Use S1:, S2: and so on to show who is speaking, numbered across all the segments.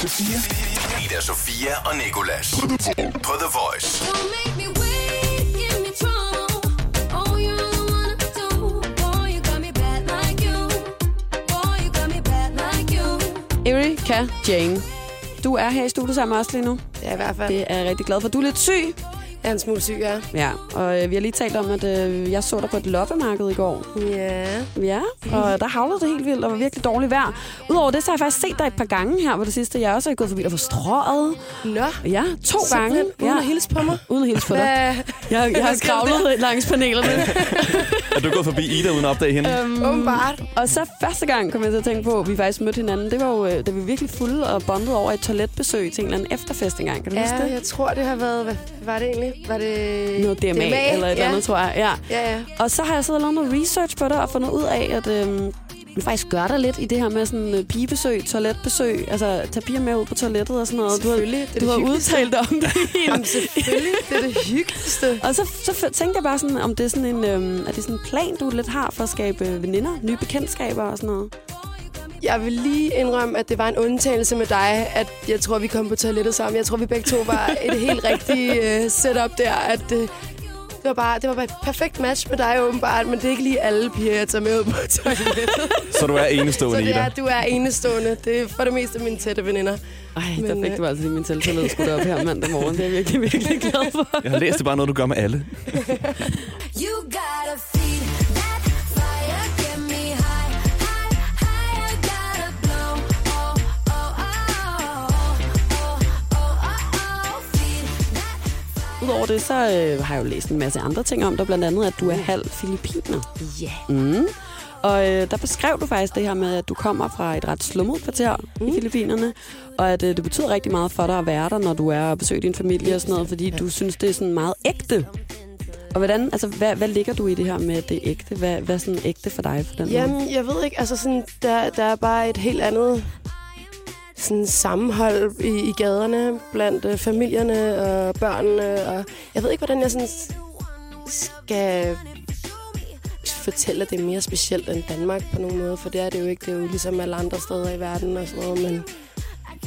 S1: til 4.
S2: Ida Sofia og Nikolas. På The Voice.
S3: Don't make me wait, give me trouble. Oh, you're the one I do. Boy, you got me bad like you. Boy, you got me bad like you.
S4: Erika Jane, du er her i studiet sammen med os lige nu.
S5: Ja, i hvert fald.
S4: Det er jeg rigtig glad for. Du er lidt syg.
S5: Jeg er en smule syg, ja.
S4: Ja, og øh, vi har lige talt om, at øh, jeg så dig på et loppemarked i går.
S5: Ja.
S4: Ja,
S5: Mhm.
S4: og der havlede det helt vildt, og var virkelig dårligt vejr. Udover det, så har jeg faktisk set dig et par gange her på det sidste. Jeg er også gået forbi dig for strået.
S5: Nå.
S4: Ja, to gange.
S5: Simpelthen, uden
S4: ja.
S5: at hilse på mig.
S4: Uden at hilse på dig.
S5: Hvad-
S4: Jeg, jeg har
S5: hvad sker der
S4: skravlet langs panelerne.
S6: Er du gået forbi Ida uden at opdage hende?
S4: Mm.
S5: Åbenbart.
S4: Og så første gang kom jeg til at tænke på, at vi faktisk mødte hinanden. Det var jo, øh, da vi virkelig fulde og bondede over et toiletbesøg til en eller anden efterfest engang. Kan du huske
S5: Ja,
S4: det?
S5: jeg tror, det har været... Hvad var det egentlig? Var det...
S4: Noget DMA, DMA eller et
S5: ja.
S4: eller andet, tror jeg. Ja.
S5: Ja, ja.
S4: Og så har jeg siddet og lavet noget research på det og fundet ud af, at øhm, du faktisk gør dig lidt i det her med sådan øh, pigebesøg, toiletbesøg. Altså, tage piger med ud på toilettet og sådan noget. Du har,
S5: Selvfølgelig. Det er
S4: du
S5: det
S4: har
S5: hyggeligste.
S4: udtalt dig om det i en...
S5: Jamen, selvfølgelig. Det er det hyggeligste.
S4: Og så, så f- tænkte jeg bare sådan, om det er sådan en øhm, er det sådan en plan, du lidt har for at skabe øh, veninder, nye bekendtskaber og sådan noget.
S5: Jeg vil lige indrømme, at det var en undtagelse med dig, at jeg tror, vi kom på toilettet sammen. Jeg tror, vi begge to var et helt rigtigt uh, setup der, at uh, det var, bare, det var bare et perfekt match med dig åbenbart, men det er ikke lige alle piger, jeg tager med ud på toilettet.
S6: Så du er
S5: Så
S6: enestående,
S5: det er,
S6: Ida.
S5: at du er enestående. Det er for det meste mine tætte veninder.
S4: Ej,
S5: Men,
S4: der fik
S5: øh,
S4: du altså lige min telefon skudt op her mandag morgen. Det er jeg virkelig, virkelig glad for.
S6: Jeg har læst det er bare noget, du gør med alle.
S3: You gotta feed that fire, get me high, high, high. I gotta blow. Oh, oh, oh, oh, oh, oh, feed that
S4: Udover det, så øh, har jeg jo læst en masse andre ting om dig, blandt andet, at du er halv filippiner.
S5: Ja.
S4: Mm. Og øh, der beskrev du faktisk det her med, at du kommer fra et ret slummet kvarter mm. i Filippinerne, og at øh, det betyder rigtig meget for dig at være der, når du er og besøger din familie og sådan noget, fordi du synes, det er sådan meget ægte. Og hvordan, altså, hvad, hvad ligger du i det her med at det er ægte? Hvad, hvad er sådan ægte for dig på den måde?
S5: Jamen, jeg ved ikke, altså sådan, der, der er bare et helt andet sådan sammenhold i, i gaderne blandt øh, familierne og børnene, og jeg ved ikke, hvordan jeg sådan s- skal fortælle, at det er mere specielt end Danmark på nogen måde, for det er det jo ikke. Det er jo ligesom alle andre steder i verden og sådan noget, men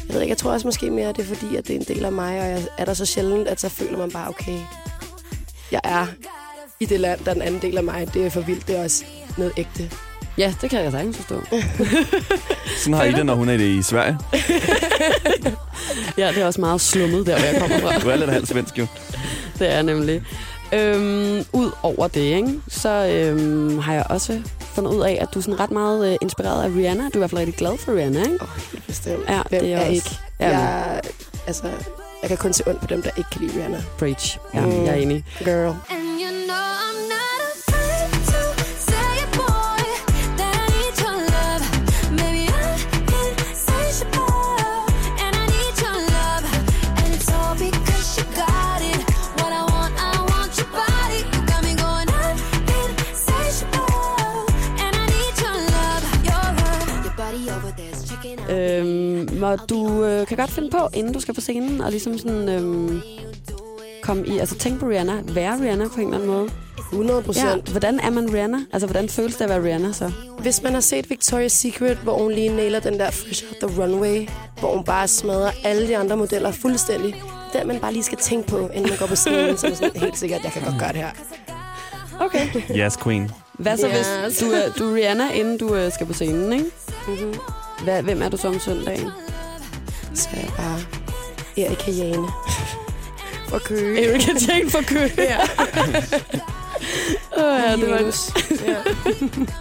S5: jeg ved ikke, jeg tror også måske mere, at det er fordi, at det er en del af mig, og jeg er der så sjældent, at så føler man bare, okay, jeg er i det land, der er den anden del af mig. Det er for vildt, det er også noget ægte.
S4: Ja, det kan jeg sagtens forstå.
S6: Sådan har Ida, når hun er det i Sverige.
S4: ja, det er også meget slummet der, hvor jeg kommer fra.
S6: Du er lidt halvt svensk, jo.
S4: Det er jeg nemlig. Øhm, ud over det, ikke, så øhm, har jeg også fundet ud af, at du er sådan ret meget øh, inspireret af Rihanna. Du er i hvert fald rigtig glad for Rihanna, ikke?
S5: Åh, oh, helt bestemt.
S4: Ja,
S5: Hvem
S4: det er
S5: er
S4: også-
S5: ikke?
S4: Jamen.
S5: Jeg, altså, jeg kan kun se ondt på dem, der ikke kan lide Rihanna.
S4: Preach. Ja,
S5: Mm.
S4: jeg er enig.
S5: Girl.
S3: And you know I'm not afraid to say it, boy, that I need your love. Maybe I'm insatiable, and I need your love. And it's all because you got it. What I want, I want your body. You got me going on insatiable, and I need your love. Your love. Your body over there's checking out.
S4: Øhm, og du øh, kan godt finde på, inden du skal på scenen, og ligesom sådan... Øhm, komme i, altså tænk på Rihanna, være Rihanna på en eller anden måde.
S5: 100 procent.
S4: Ja,
S5: Ja.
S4: hvordan er man Rihanna? Altså, hvordan føles det at være Rihanna så?
S5: Hvis man har set Victoria's Secret, hvor hun lige nailer den der Fresh Out The Runway, hvor hun bare smadrer alle de andre modeller fuldstændig, den man bare lige skal tænke på, inden man går på scenen, så er man sådan, helt sikkert, jeg kan godt gøre det her.
S4: Okay.
S6: Yes, queen.
S4: Hvad så, yes. hvis
S5: Yes.
S4: du er, du er Rihanna, inden du øh, skal på scenen, ikke?
S5: Mm-hmm.
S4: Hvad, hvem er du så om søndagen?
S5: Så er jeg bare Erika Jane. For køge.
S4: Erika Jane for kø. Ja. oh, ja, det var en
S5: ja.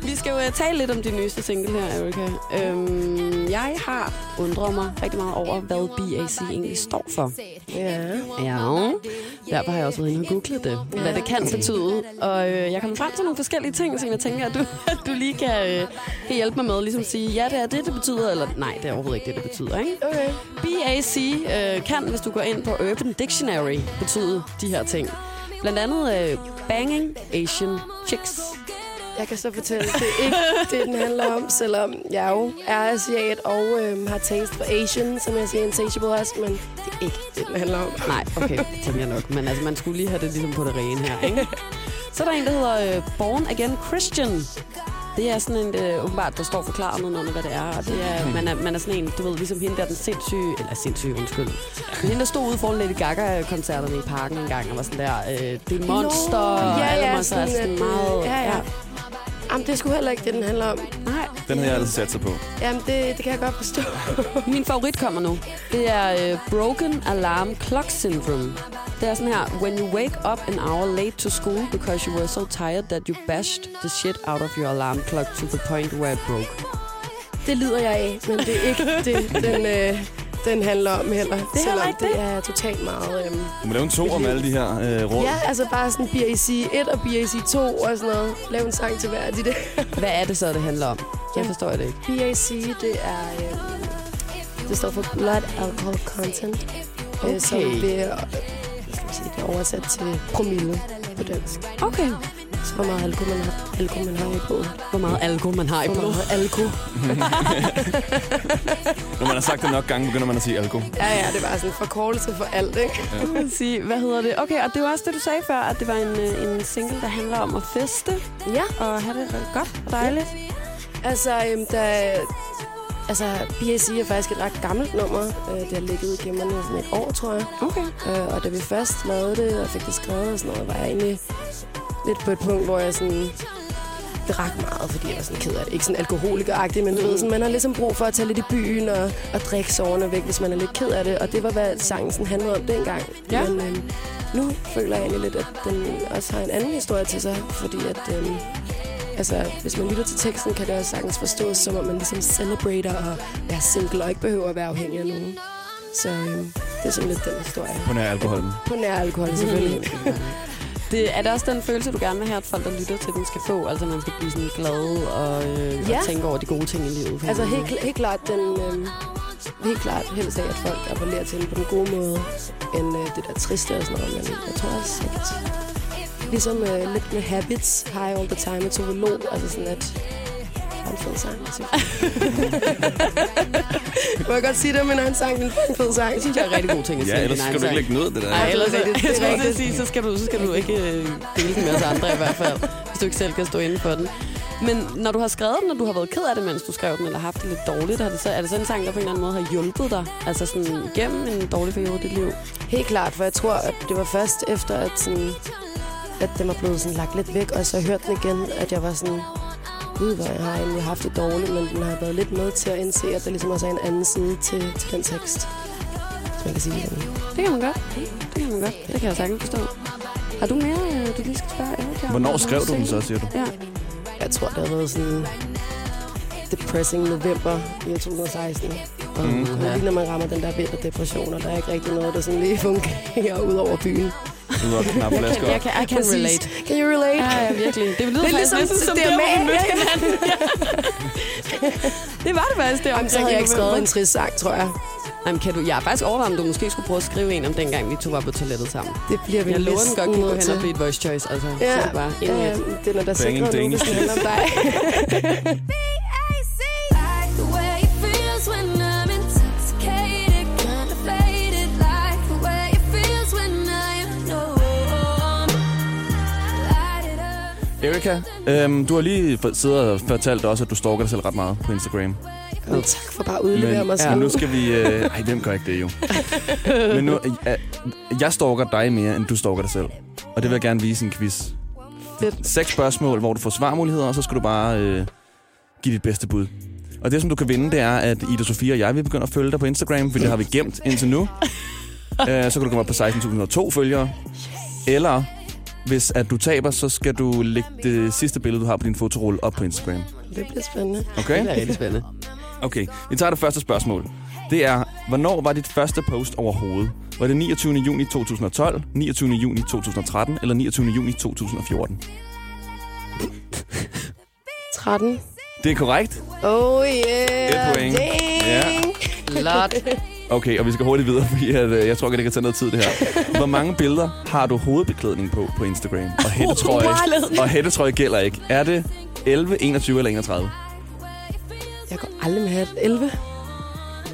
S4: Vi skal jo øh, tale lidt om din nyeste single her, Erika. Øhm, jeg har undret mig rigtig meget over, hvad BAC egentlig står for.
S5: ja.
S4: Ja, derfor har jeg også været inde og googlet det, hvad det kan betyde. Og øh, jeg kom frem til nogle forskellige ting, som jeg tænker, at du, at du lige kan, øh, kan hjælpe mig med. Ligesom sige, ja, det er det, det betyder, eller nej, det er overhovedet ikke det, det betyder. Ikke?
S5: Okay.
S4: BAC øh, kan, hvis du går ind på Urban Dictionary, betyde de her ting. Blandt andet øh, banging Asian chicks.
S5: Jeg kan så fortælle, det er ikke det, den handler om, selvom jeg jo er asiat og øhm, har taste for Asian, som jeg siger insatiable også, men det er ikke det, den handler om.
S4: Nej, okay, det tænker jeg nok. Men altså, man skulle lige have det ligesom på det rene her, ikke? Så er der en, der hedder øh, Born Again Christian. Det er sådan en, øh, åbenbart, der står forklaret nedenunder, hvad det er. Og det er, man, er, man er sådan en, du ved, ligesom hende der, den sindssyge, eller sindssyge, undskyld. Men hende, der stod ude foran Lady Gaga-koncerterne i parken en gang, og var sådan der, øh, det er monster, og alle monster er sådan
S5: at,
S4: meget...
S5: øh, Ja, ja. Jamen, det er sgu heller ikke det, den handler om.
S4: Nej,
S6: Den havde jeg altid sat sig på.
S5: Jamen, det, det kan jeg godt forstå.
S4: Min favorit kommer nu. Det er øh, Broken Alarm Clock Syndrome. Det er sådan her. When you wake up an hour late to school because you were so tired that you bashed the shit out of your alarm clock to the point where it broke.
S5: det lider jeg af, men det er ikke det, den, øh, den handler om heller. Det
S4: heller
S5: selvom
S4: ikke
S5: det.
S4: det.
S5: er totalt meget... Øh,
S6: Du må lave en to om alle de her øh, råd.
S5: ja, altså bare sådan BAC 1 og BAC 2 og sådan noget. Lav en sang til hver af de der.
S4: Hvad er det så, det handler om? Jeg forstår det ikke.
S5: BAC, det er... Øh, det står for Blood Alcohol Content. Okay. Øh, som
S4: Okay.
S5: det er, hvad skal man sige, det er oversat til promille på dansk.
S4: Okay.
S5: Så hvor meget alkohol man har, alkohol man har i blodet.
S4: Hvor meget alkohol man har i
S5: Hvor
S4: blodet.
S5: meget alkohol.
S6: Når man har sagt det nok gange, begynder man at sige alko.
S5: Ja, ja, det var sådan en forkortelse for alt, ikke?
S4: sige, hvad hedder det? Okay, og det var også det, du sagde før, at det var en, øh, en single, der handler om at feste
S5: Ja,
S4: og have det godt og dejligt.
S5: altså, øhm, der, altså BAC er faktisk et ret gammelt nummer. Øh, det har ligget i gemmerne i sådan et år, tror jeg.
S4: Okay.
S5: Øh, og da vi først lavede det og fik det skrevet og sådan noget, var jeg egentlig lidt på et punkt, hvor jeg sådan drak meget, fordi jeg var sådan ked af det. Ikke sådan alkoholikeragtigt, men du ved, sådan, man har ligesom brug for at tage lidt i byen og, og drikke soverne væk, hvis man er lidt ked af det. Og det var, hvad sangen sådan handlede om dengang.
S4: Ja.
S5: Men øhm, nu føler jeg egentlig lidt, at den også har en anden historie til sig, fordi at... Øhm, Altså, hvis man lytter til teksten, kan det også sagtens forstås, som om man ligesom celebrater og er single og ikke behøver at være afhængig af nogen. Så øhm, det er sådan lidt den historie.
S6: På nær alkoholen.
S5: På nær alkohol, selvfølgelig.
S4: Det, er det også den følelse, du gerne vil have, at folk, der lytter til den, skal få? Altså, man skal blive sådan glad og, øh, ja.
S5: Ja.
S4: og tænke over de gode ting i livet.
S5: altså, helt, kl- helt klart den... Øhm, helt klart helst af, at folk appellerer til den på den gode måde, end øh, det der triste og sådan noget. Men jeg tror også, at ligesom øh, lidt med habits, high all the time, og tolog, altså sådan at... Bare en fed sang, selvfølgelig. Må jeg godt sige det om min egen sang? Min fucking fed sang.
S4: Det synes jeg er rigtig gode ting at sige.
S6: Ja,
S4: i
S6: ellers
S4: din egen
S6: skal du ikke
S4: sang.
S6: lægge noget, det der.
S4: Nej, ellers
S5: Det er
S4: ikke.
S5: rigtigt.
S4: Jeg
S5: Det er
S4: skulle til at
S5: rigtigt.
S4: sige, så skal, du, så skal du ikke øh, dele den med os andre i hvert fald, hvis du ikke selv kan stå inde for den. Men når du har skrevet den, og du har været ked af det, mens du skrev den, eller haft det lidt dårligt, har det så, er det så en sang, der på en eller anden måde har hjulpet dig? Altså sådan igennem en dårlig periode i dit liv?
S5: Helt klart, for jeg tror, at det var først efter, at, sådan, at den var blevet sådan lagt lidt væk, og så hørte den igen, at jeg var sådan, gud, hvor jeg har egentlig haft det dårligt, men den har været lidt med til at indse, at der ligesom også er en anden side til, til den tekst. Så man kan sige, at
S4: Det kan man godt. Det kan man godt. Det kan jeg sagtens forstå. Har du mere, øh, du lige skal spørge? Eric om?
S6: Hvornår skrev du den så, siger du?
S4: Ja.
S5: jeg tror, det har været sådan depressing november i 2016. Og mm, ja. lige når man rammer den der vinterdepression, og der er ikke rigtig noget, der sådan lige fungerer ud over byen.
S6: Du har knap flasker op.
S4: kan, I can
S5: Præcis. Can you relate?
S4: Ja, ja, virkelig. Det lyder
S5: Det er
S4: faktisk
S5: ligesom
S4: næsten som
S5: det
S4: det,
S5: er
S4: hvor vi
S5: med-
S4: mødte hinanden. Ja. det var det faktisk, det
S5: Jamen, så havde jeg ikke skrevet en trist sang, tror jeg.
S4: Jamen, kan du, jeg er faktisk overvejet, om du måske skulle prøve at skrive en om dengang, vi to var på toilettet sammen.
S5: Det bliver vi
S4: Jeg lover, den
S5: næsten
S4: godt kan gå
S5: nødt
S4: hen
S5: til.
S4: og blive et voice choice. Altså,
S5: Ja,
S4: så bare ind i
S5: ja,
S4: det.
S5: den er da sikret nu, hvis
S6: Danish.
S5: det handler om dig.
S3: Like the way it feels when I'm intoxicated, kinda faded. Like the way it feels when I'm alone. Light it up.
S6: Erika, øhm, du har lige for- siddet og fortalt os, at du stalker dig selv ret meget på Instagram.
S5: Men tak for bare at udlevere mig
S6: ja.
S5: sådan.
S6: nu skal vi... Øh, ej, hvem gør ikke det jo? Men nu, øh, jeg stalker dig mere, end du stalker dig selv. Og det vil jeg gerne vise i en quiz.
S5: Fedt.
S6: Seks spørgsmål, hvor du får svarmuligheder, og så skal du bare øh, give dit bedste bud. Og det, som du kan vinde, det er, at Ida Sofia og jeg vil begynde at følge dig på Instagram, for det har vi gemt indtil nu. øh, så kan du komme op på 16.002 følgere. Eller hvis at du taber, så skal du lægge det sidste billede, du har på din fotorulle op på Instagram.
S5: Det bliver spændende.
S6: Okay?
S4: Det er rigtig spændende.
S6: Okay, vi tager det første spørgsmål. Det er, hvornår var dit første post overhovedet? Var det 29. juni 2012, 29. juni 2013 eller 29. juni 2014?
S5: 13.
S6: Det er korrekt.
S5: Oh yeah.
S6: Et point.
S5: Dang.
S6: Ja.
S4: Lot.
S6: Okay, og vi skal hurtigt videre, fordi at, øh, jeg tror ikke, det kan tage noget tid, det her. Hvor mange billeder har du hovedbeklædning på på Instagram? Og hættetrøje, og hættetrøje gælder ikke. Er det 11, 21 eller 31?
S5: Jeg går aldrig med hat. 11.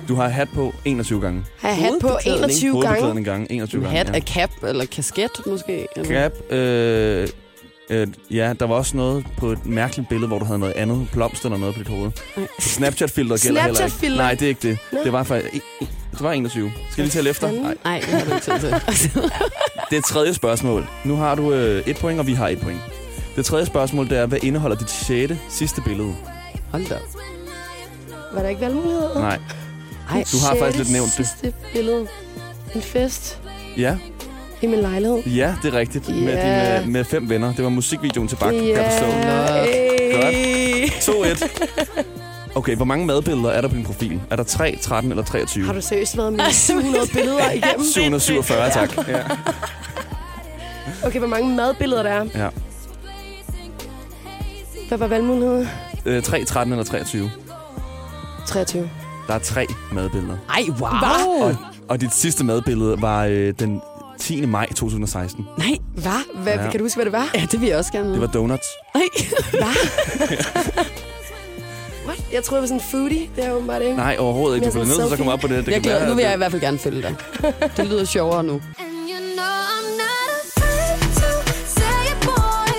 S6: Du har hat på 21 gange.
S5: Har jeg hat på
S4: Hovedbeklædning.
S5: 21 gange?
S6: Hovedbeklædning gange 21 gange.
S4: Hat af cap, eller kasket måske. Eller-
S6: Grab, øh, Øh, ja, der var også noget på et mærkeligt billede, hvor du havde noget andet blomst eller noget på dit hoved.
S4: Nej.
S6: Så Snapchat-filter gælder heller ikke.
S5: Snapchat-filter?
S6: Nej, det er ikke det.
S5: Nå.
S6: Det var faktisk... en- en- Det var 21. Skal jeg lige tælle efter? Nej,
S4: Nej, det har du ikke tid til.
S6: det er tredje spørgsmål. Nu har du øh, et point, og vi har et point. Det tredje spørgsmål, det er, hvad indeholder dit sjette sidste billede?
S4: Hold da. op.
S5: Var der ikke valgmuligheder?
S6: Nej.
S4: Ej,
S6: Du har faktisk lidt nævnt det.
S5: sidste billede. En fest
S6: Ja,
S5: i min lejlighed.
S6: ja, det er rigtigt. Med,
S5: Ja.
S6: dine, med fem venner. Det var musikvideoen til Bak
S5: Ja.
S6: yeah. Stone.
S5: Hey.
S6: 2-1. Okay, hvor mange madbilleder er der på din profil? Er der 3, 13 eller 23?
S5: Har du seriøst været med 700 billeder igennem?
S6: 747, tak. Ja.
S5: Okay, hvor mange madbilleder der er?
S6: Ja.
S5: Hvad var valgmuligheden?
S6: Øh, 3, 13 eller 23.
S5: 23.
S6: Der er tre madbilleder.
S4: Ej, wow.
S6: Og, og dit sidste madbillede var øh, den 10. maj 2016.
S4: Nej,
S5: Hvad? Hvad?
S6: Ja.
S5: Ja. Kan du huske, hvad det var?
S4: ja, det vil jeg også gerne
S6: Det
S4: vide.
S6: var donuts.
S4: Nej.
S5: What? Jeg troede, det var sådan en foodie. Det er åbenbart ikke.
S6: Nej, overhovedet ikke. Du
S5: Men
S6: bliver
S5: altså,
S6: nødt til
S5: Sofie-
S6: at komme op på det. det
S4: Jeg
S6: kan
S4: glæder,
S6: være,
S4: nu vil jeg i
S6: at
S4: hvert fald gerne følge dig. Det lyder sjovere nu.
S3: And you know I'm not afraid to say it, boy,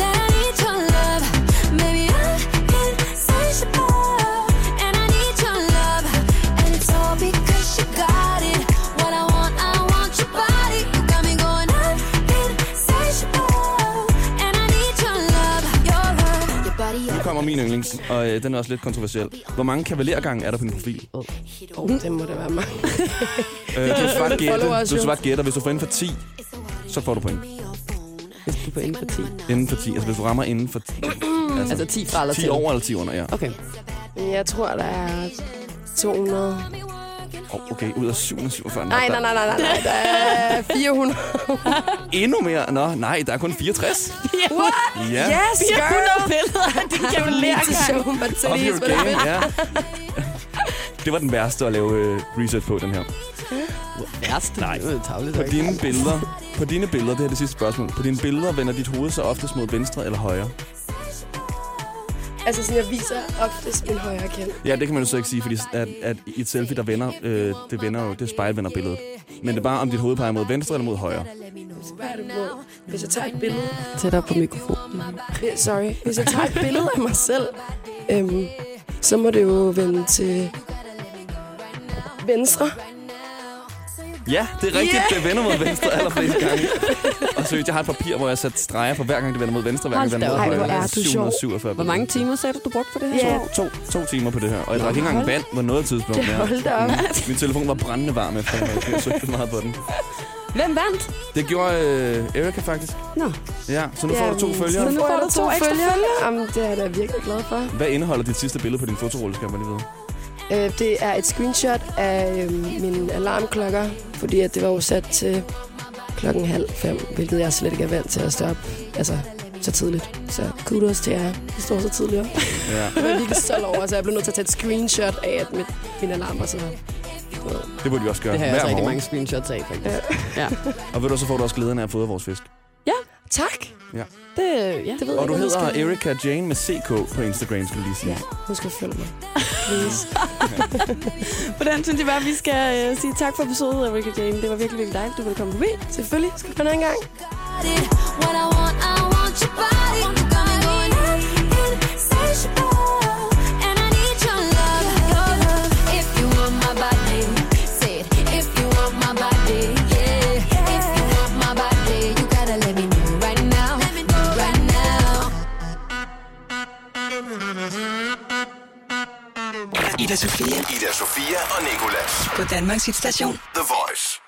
S3: that I need your love. Maybe I'm insatiable, and I need your love. And it's all because you got it. What I want, I want your body. You got me going I'm insatiable, and I need your love, your love, your body.
S6: Nu kommer min yndlings, og øh, den er også lidt kontroversiel. Hvor mange kavalergange er der på din profil?
S5: Oh, det må da være mig.
S6: Øh, du skal bare gætte,
S4: followers,
S6: du skal
S4: jo.
S6: bare gætte, og hvis du får inden for 10, så får du point.
S4: Hvis du er på inden for 10.
S6: Inden for 10, altså hvis du rammer inden for 10,
S4: Altså 10 fra eller
S6: 10
S4: til.
S6: over eller 10 under, ja.
S4: Okay.
S5: Men Jeg tror, der er 200.
S6: Oh, okay, ud af 747. Nå,
S5: Nej,
S6: der
S5: nej,
S6: er
S5: nej, nej, nej, nej. Der er 400.
S6: Endnu mere. Nå, nej, der er kun 64. Ja.
S5: Yes, girl!
S4: billeder af din kavalergang.
S6: Up your game, ja. Det var den værste at lave øh, research på, den her.
S4: Værste.
S6: Nej.
S4: Det er jo tavligt,
S6: På
S4: ikke?
S6: dine billeder, på dine billeder, det her er det sidste spørgsmål. På dine billeder vender dit hoved så oftest mod venstre eller højre?
S5: Altså, sådan, jeg viser oftest min højre kend.
S6: Ja, det kan man jo så ikke sige, fordi at, at i et selfie, der vender, øh, det vender jo, det spejlvender billedet. Men det er bare, om dit hoved peger mod venstre eller mod højre.
S5: Hvad er det mod? Hvis jeg tager et billede...
S4: Tættere på mikrofonen.
S5: Ja, Øh, Sorry. Hvis jeg tager et billede af mig selv, øhm, så må det jo vende til venstre.
S6: Ja, det er rigtigt, yeah. det vender mod venstre allerflest gange. Og seriøst, jeg har et papir, hvor jeg har sat streger for hver gang, det vender mod venstre, hver gang det
S4: Hold da op.
S6: vender mod højre.
S4: Ej, hvor er
S5: du sjov.
S6: 747
S4: Hvor mange timer sagde du, du brugte på det her?
S5: Ja.
S6: To, to timer på det her, og jeg drak ikke engang vand på noget tidspunkt.
S5: Ja, hold da op.
S6: Min telefon var brændende varm efter, at jeg søgte meget på den.
S4: Hvem vandt?
S6: Det gjorde øh, Erika faktisk.
S4: Nå,
S6: Ja, så nu får du to
S5: Jamen,
S6: følgere.
S5: Så nu får du to,
S4: ekstra
S5: ekstra
S4: følgere.
S5: følgere. Jamen, det er jeg da virkelig glad for.
S6: Hvad indeholder dit sidste billede på din fotorulle, skal jeg bare lige vide?
S5: Øh, det er et screenshot af øhm, mine alarmklokker, fordi at det var jo sat til klokken halv fem, hvilket jeg slet ikke er vant til at stå op altså, så tidligt. Så kudos til jer. Vi står så tidligere.
S6: Ja.
S5: Jeg var virkelig stolt over, så jeg blev nødt til at tage et screenshot af, at mit, min alarm var så...
S6: Det burde vi også gøre
S4: det har jeg
S6: hver
S4: også rigtig
S6: morgen.
S4: mange screenshots af, faktisk.
S6: Og ved du, så får du også glæden af at fodre vores fisk.
S5: Tak!
S4: Det, ja.
S5: Det ved jeg
S6: Og du
S5: ikke, om
S6: hedder
S5: jeg skal-
S6: Erika Jane med CK på Instagram, skal du lige sige.
S5: Ja, husk at følge mig. Please.
S4: På den synes jeg bare, at vi skal øh, sige tak for episoden, Ricky Jane. Det var virkelig, virkelig dejligt, du ville komme forbi.
S5: Selvfølgelig skal du have en gang.
S3: What I want, I want your body. You got me going I'm insatiable, and I need your love, your love. If you want my body, say it. If you want my body, yeah. If you want my body, you gotta let me know right now, right now.
S1: Ida Sofia
S2: Ida Sofia og Nikolas.
S1: på Danmarks station.
S2: The Voice.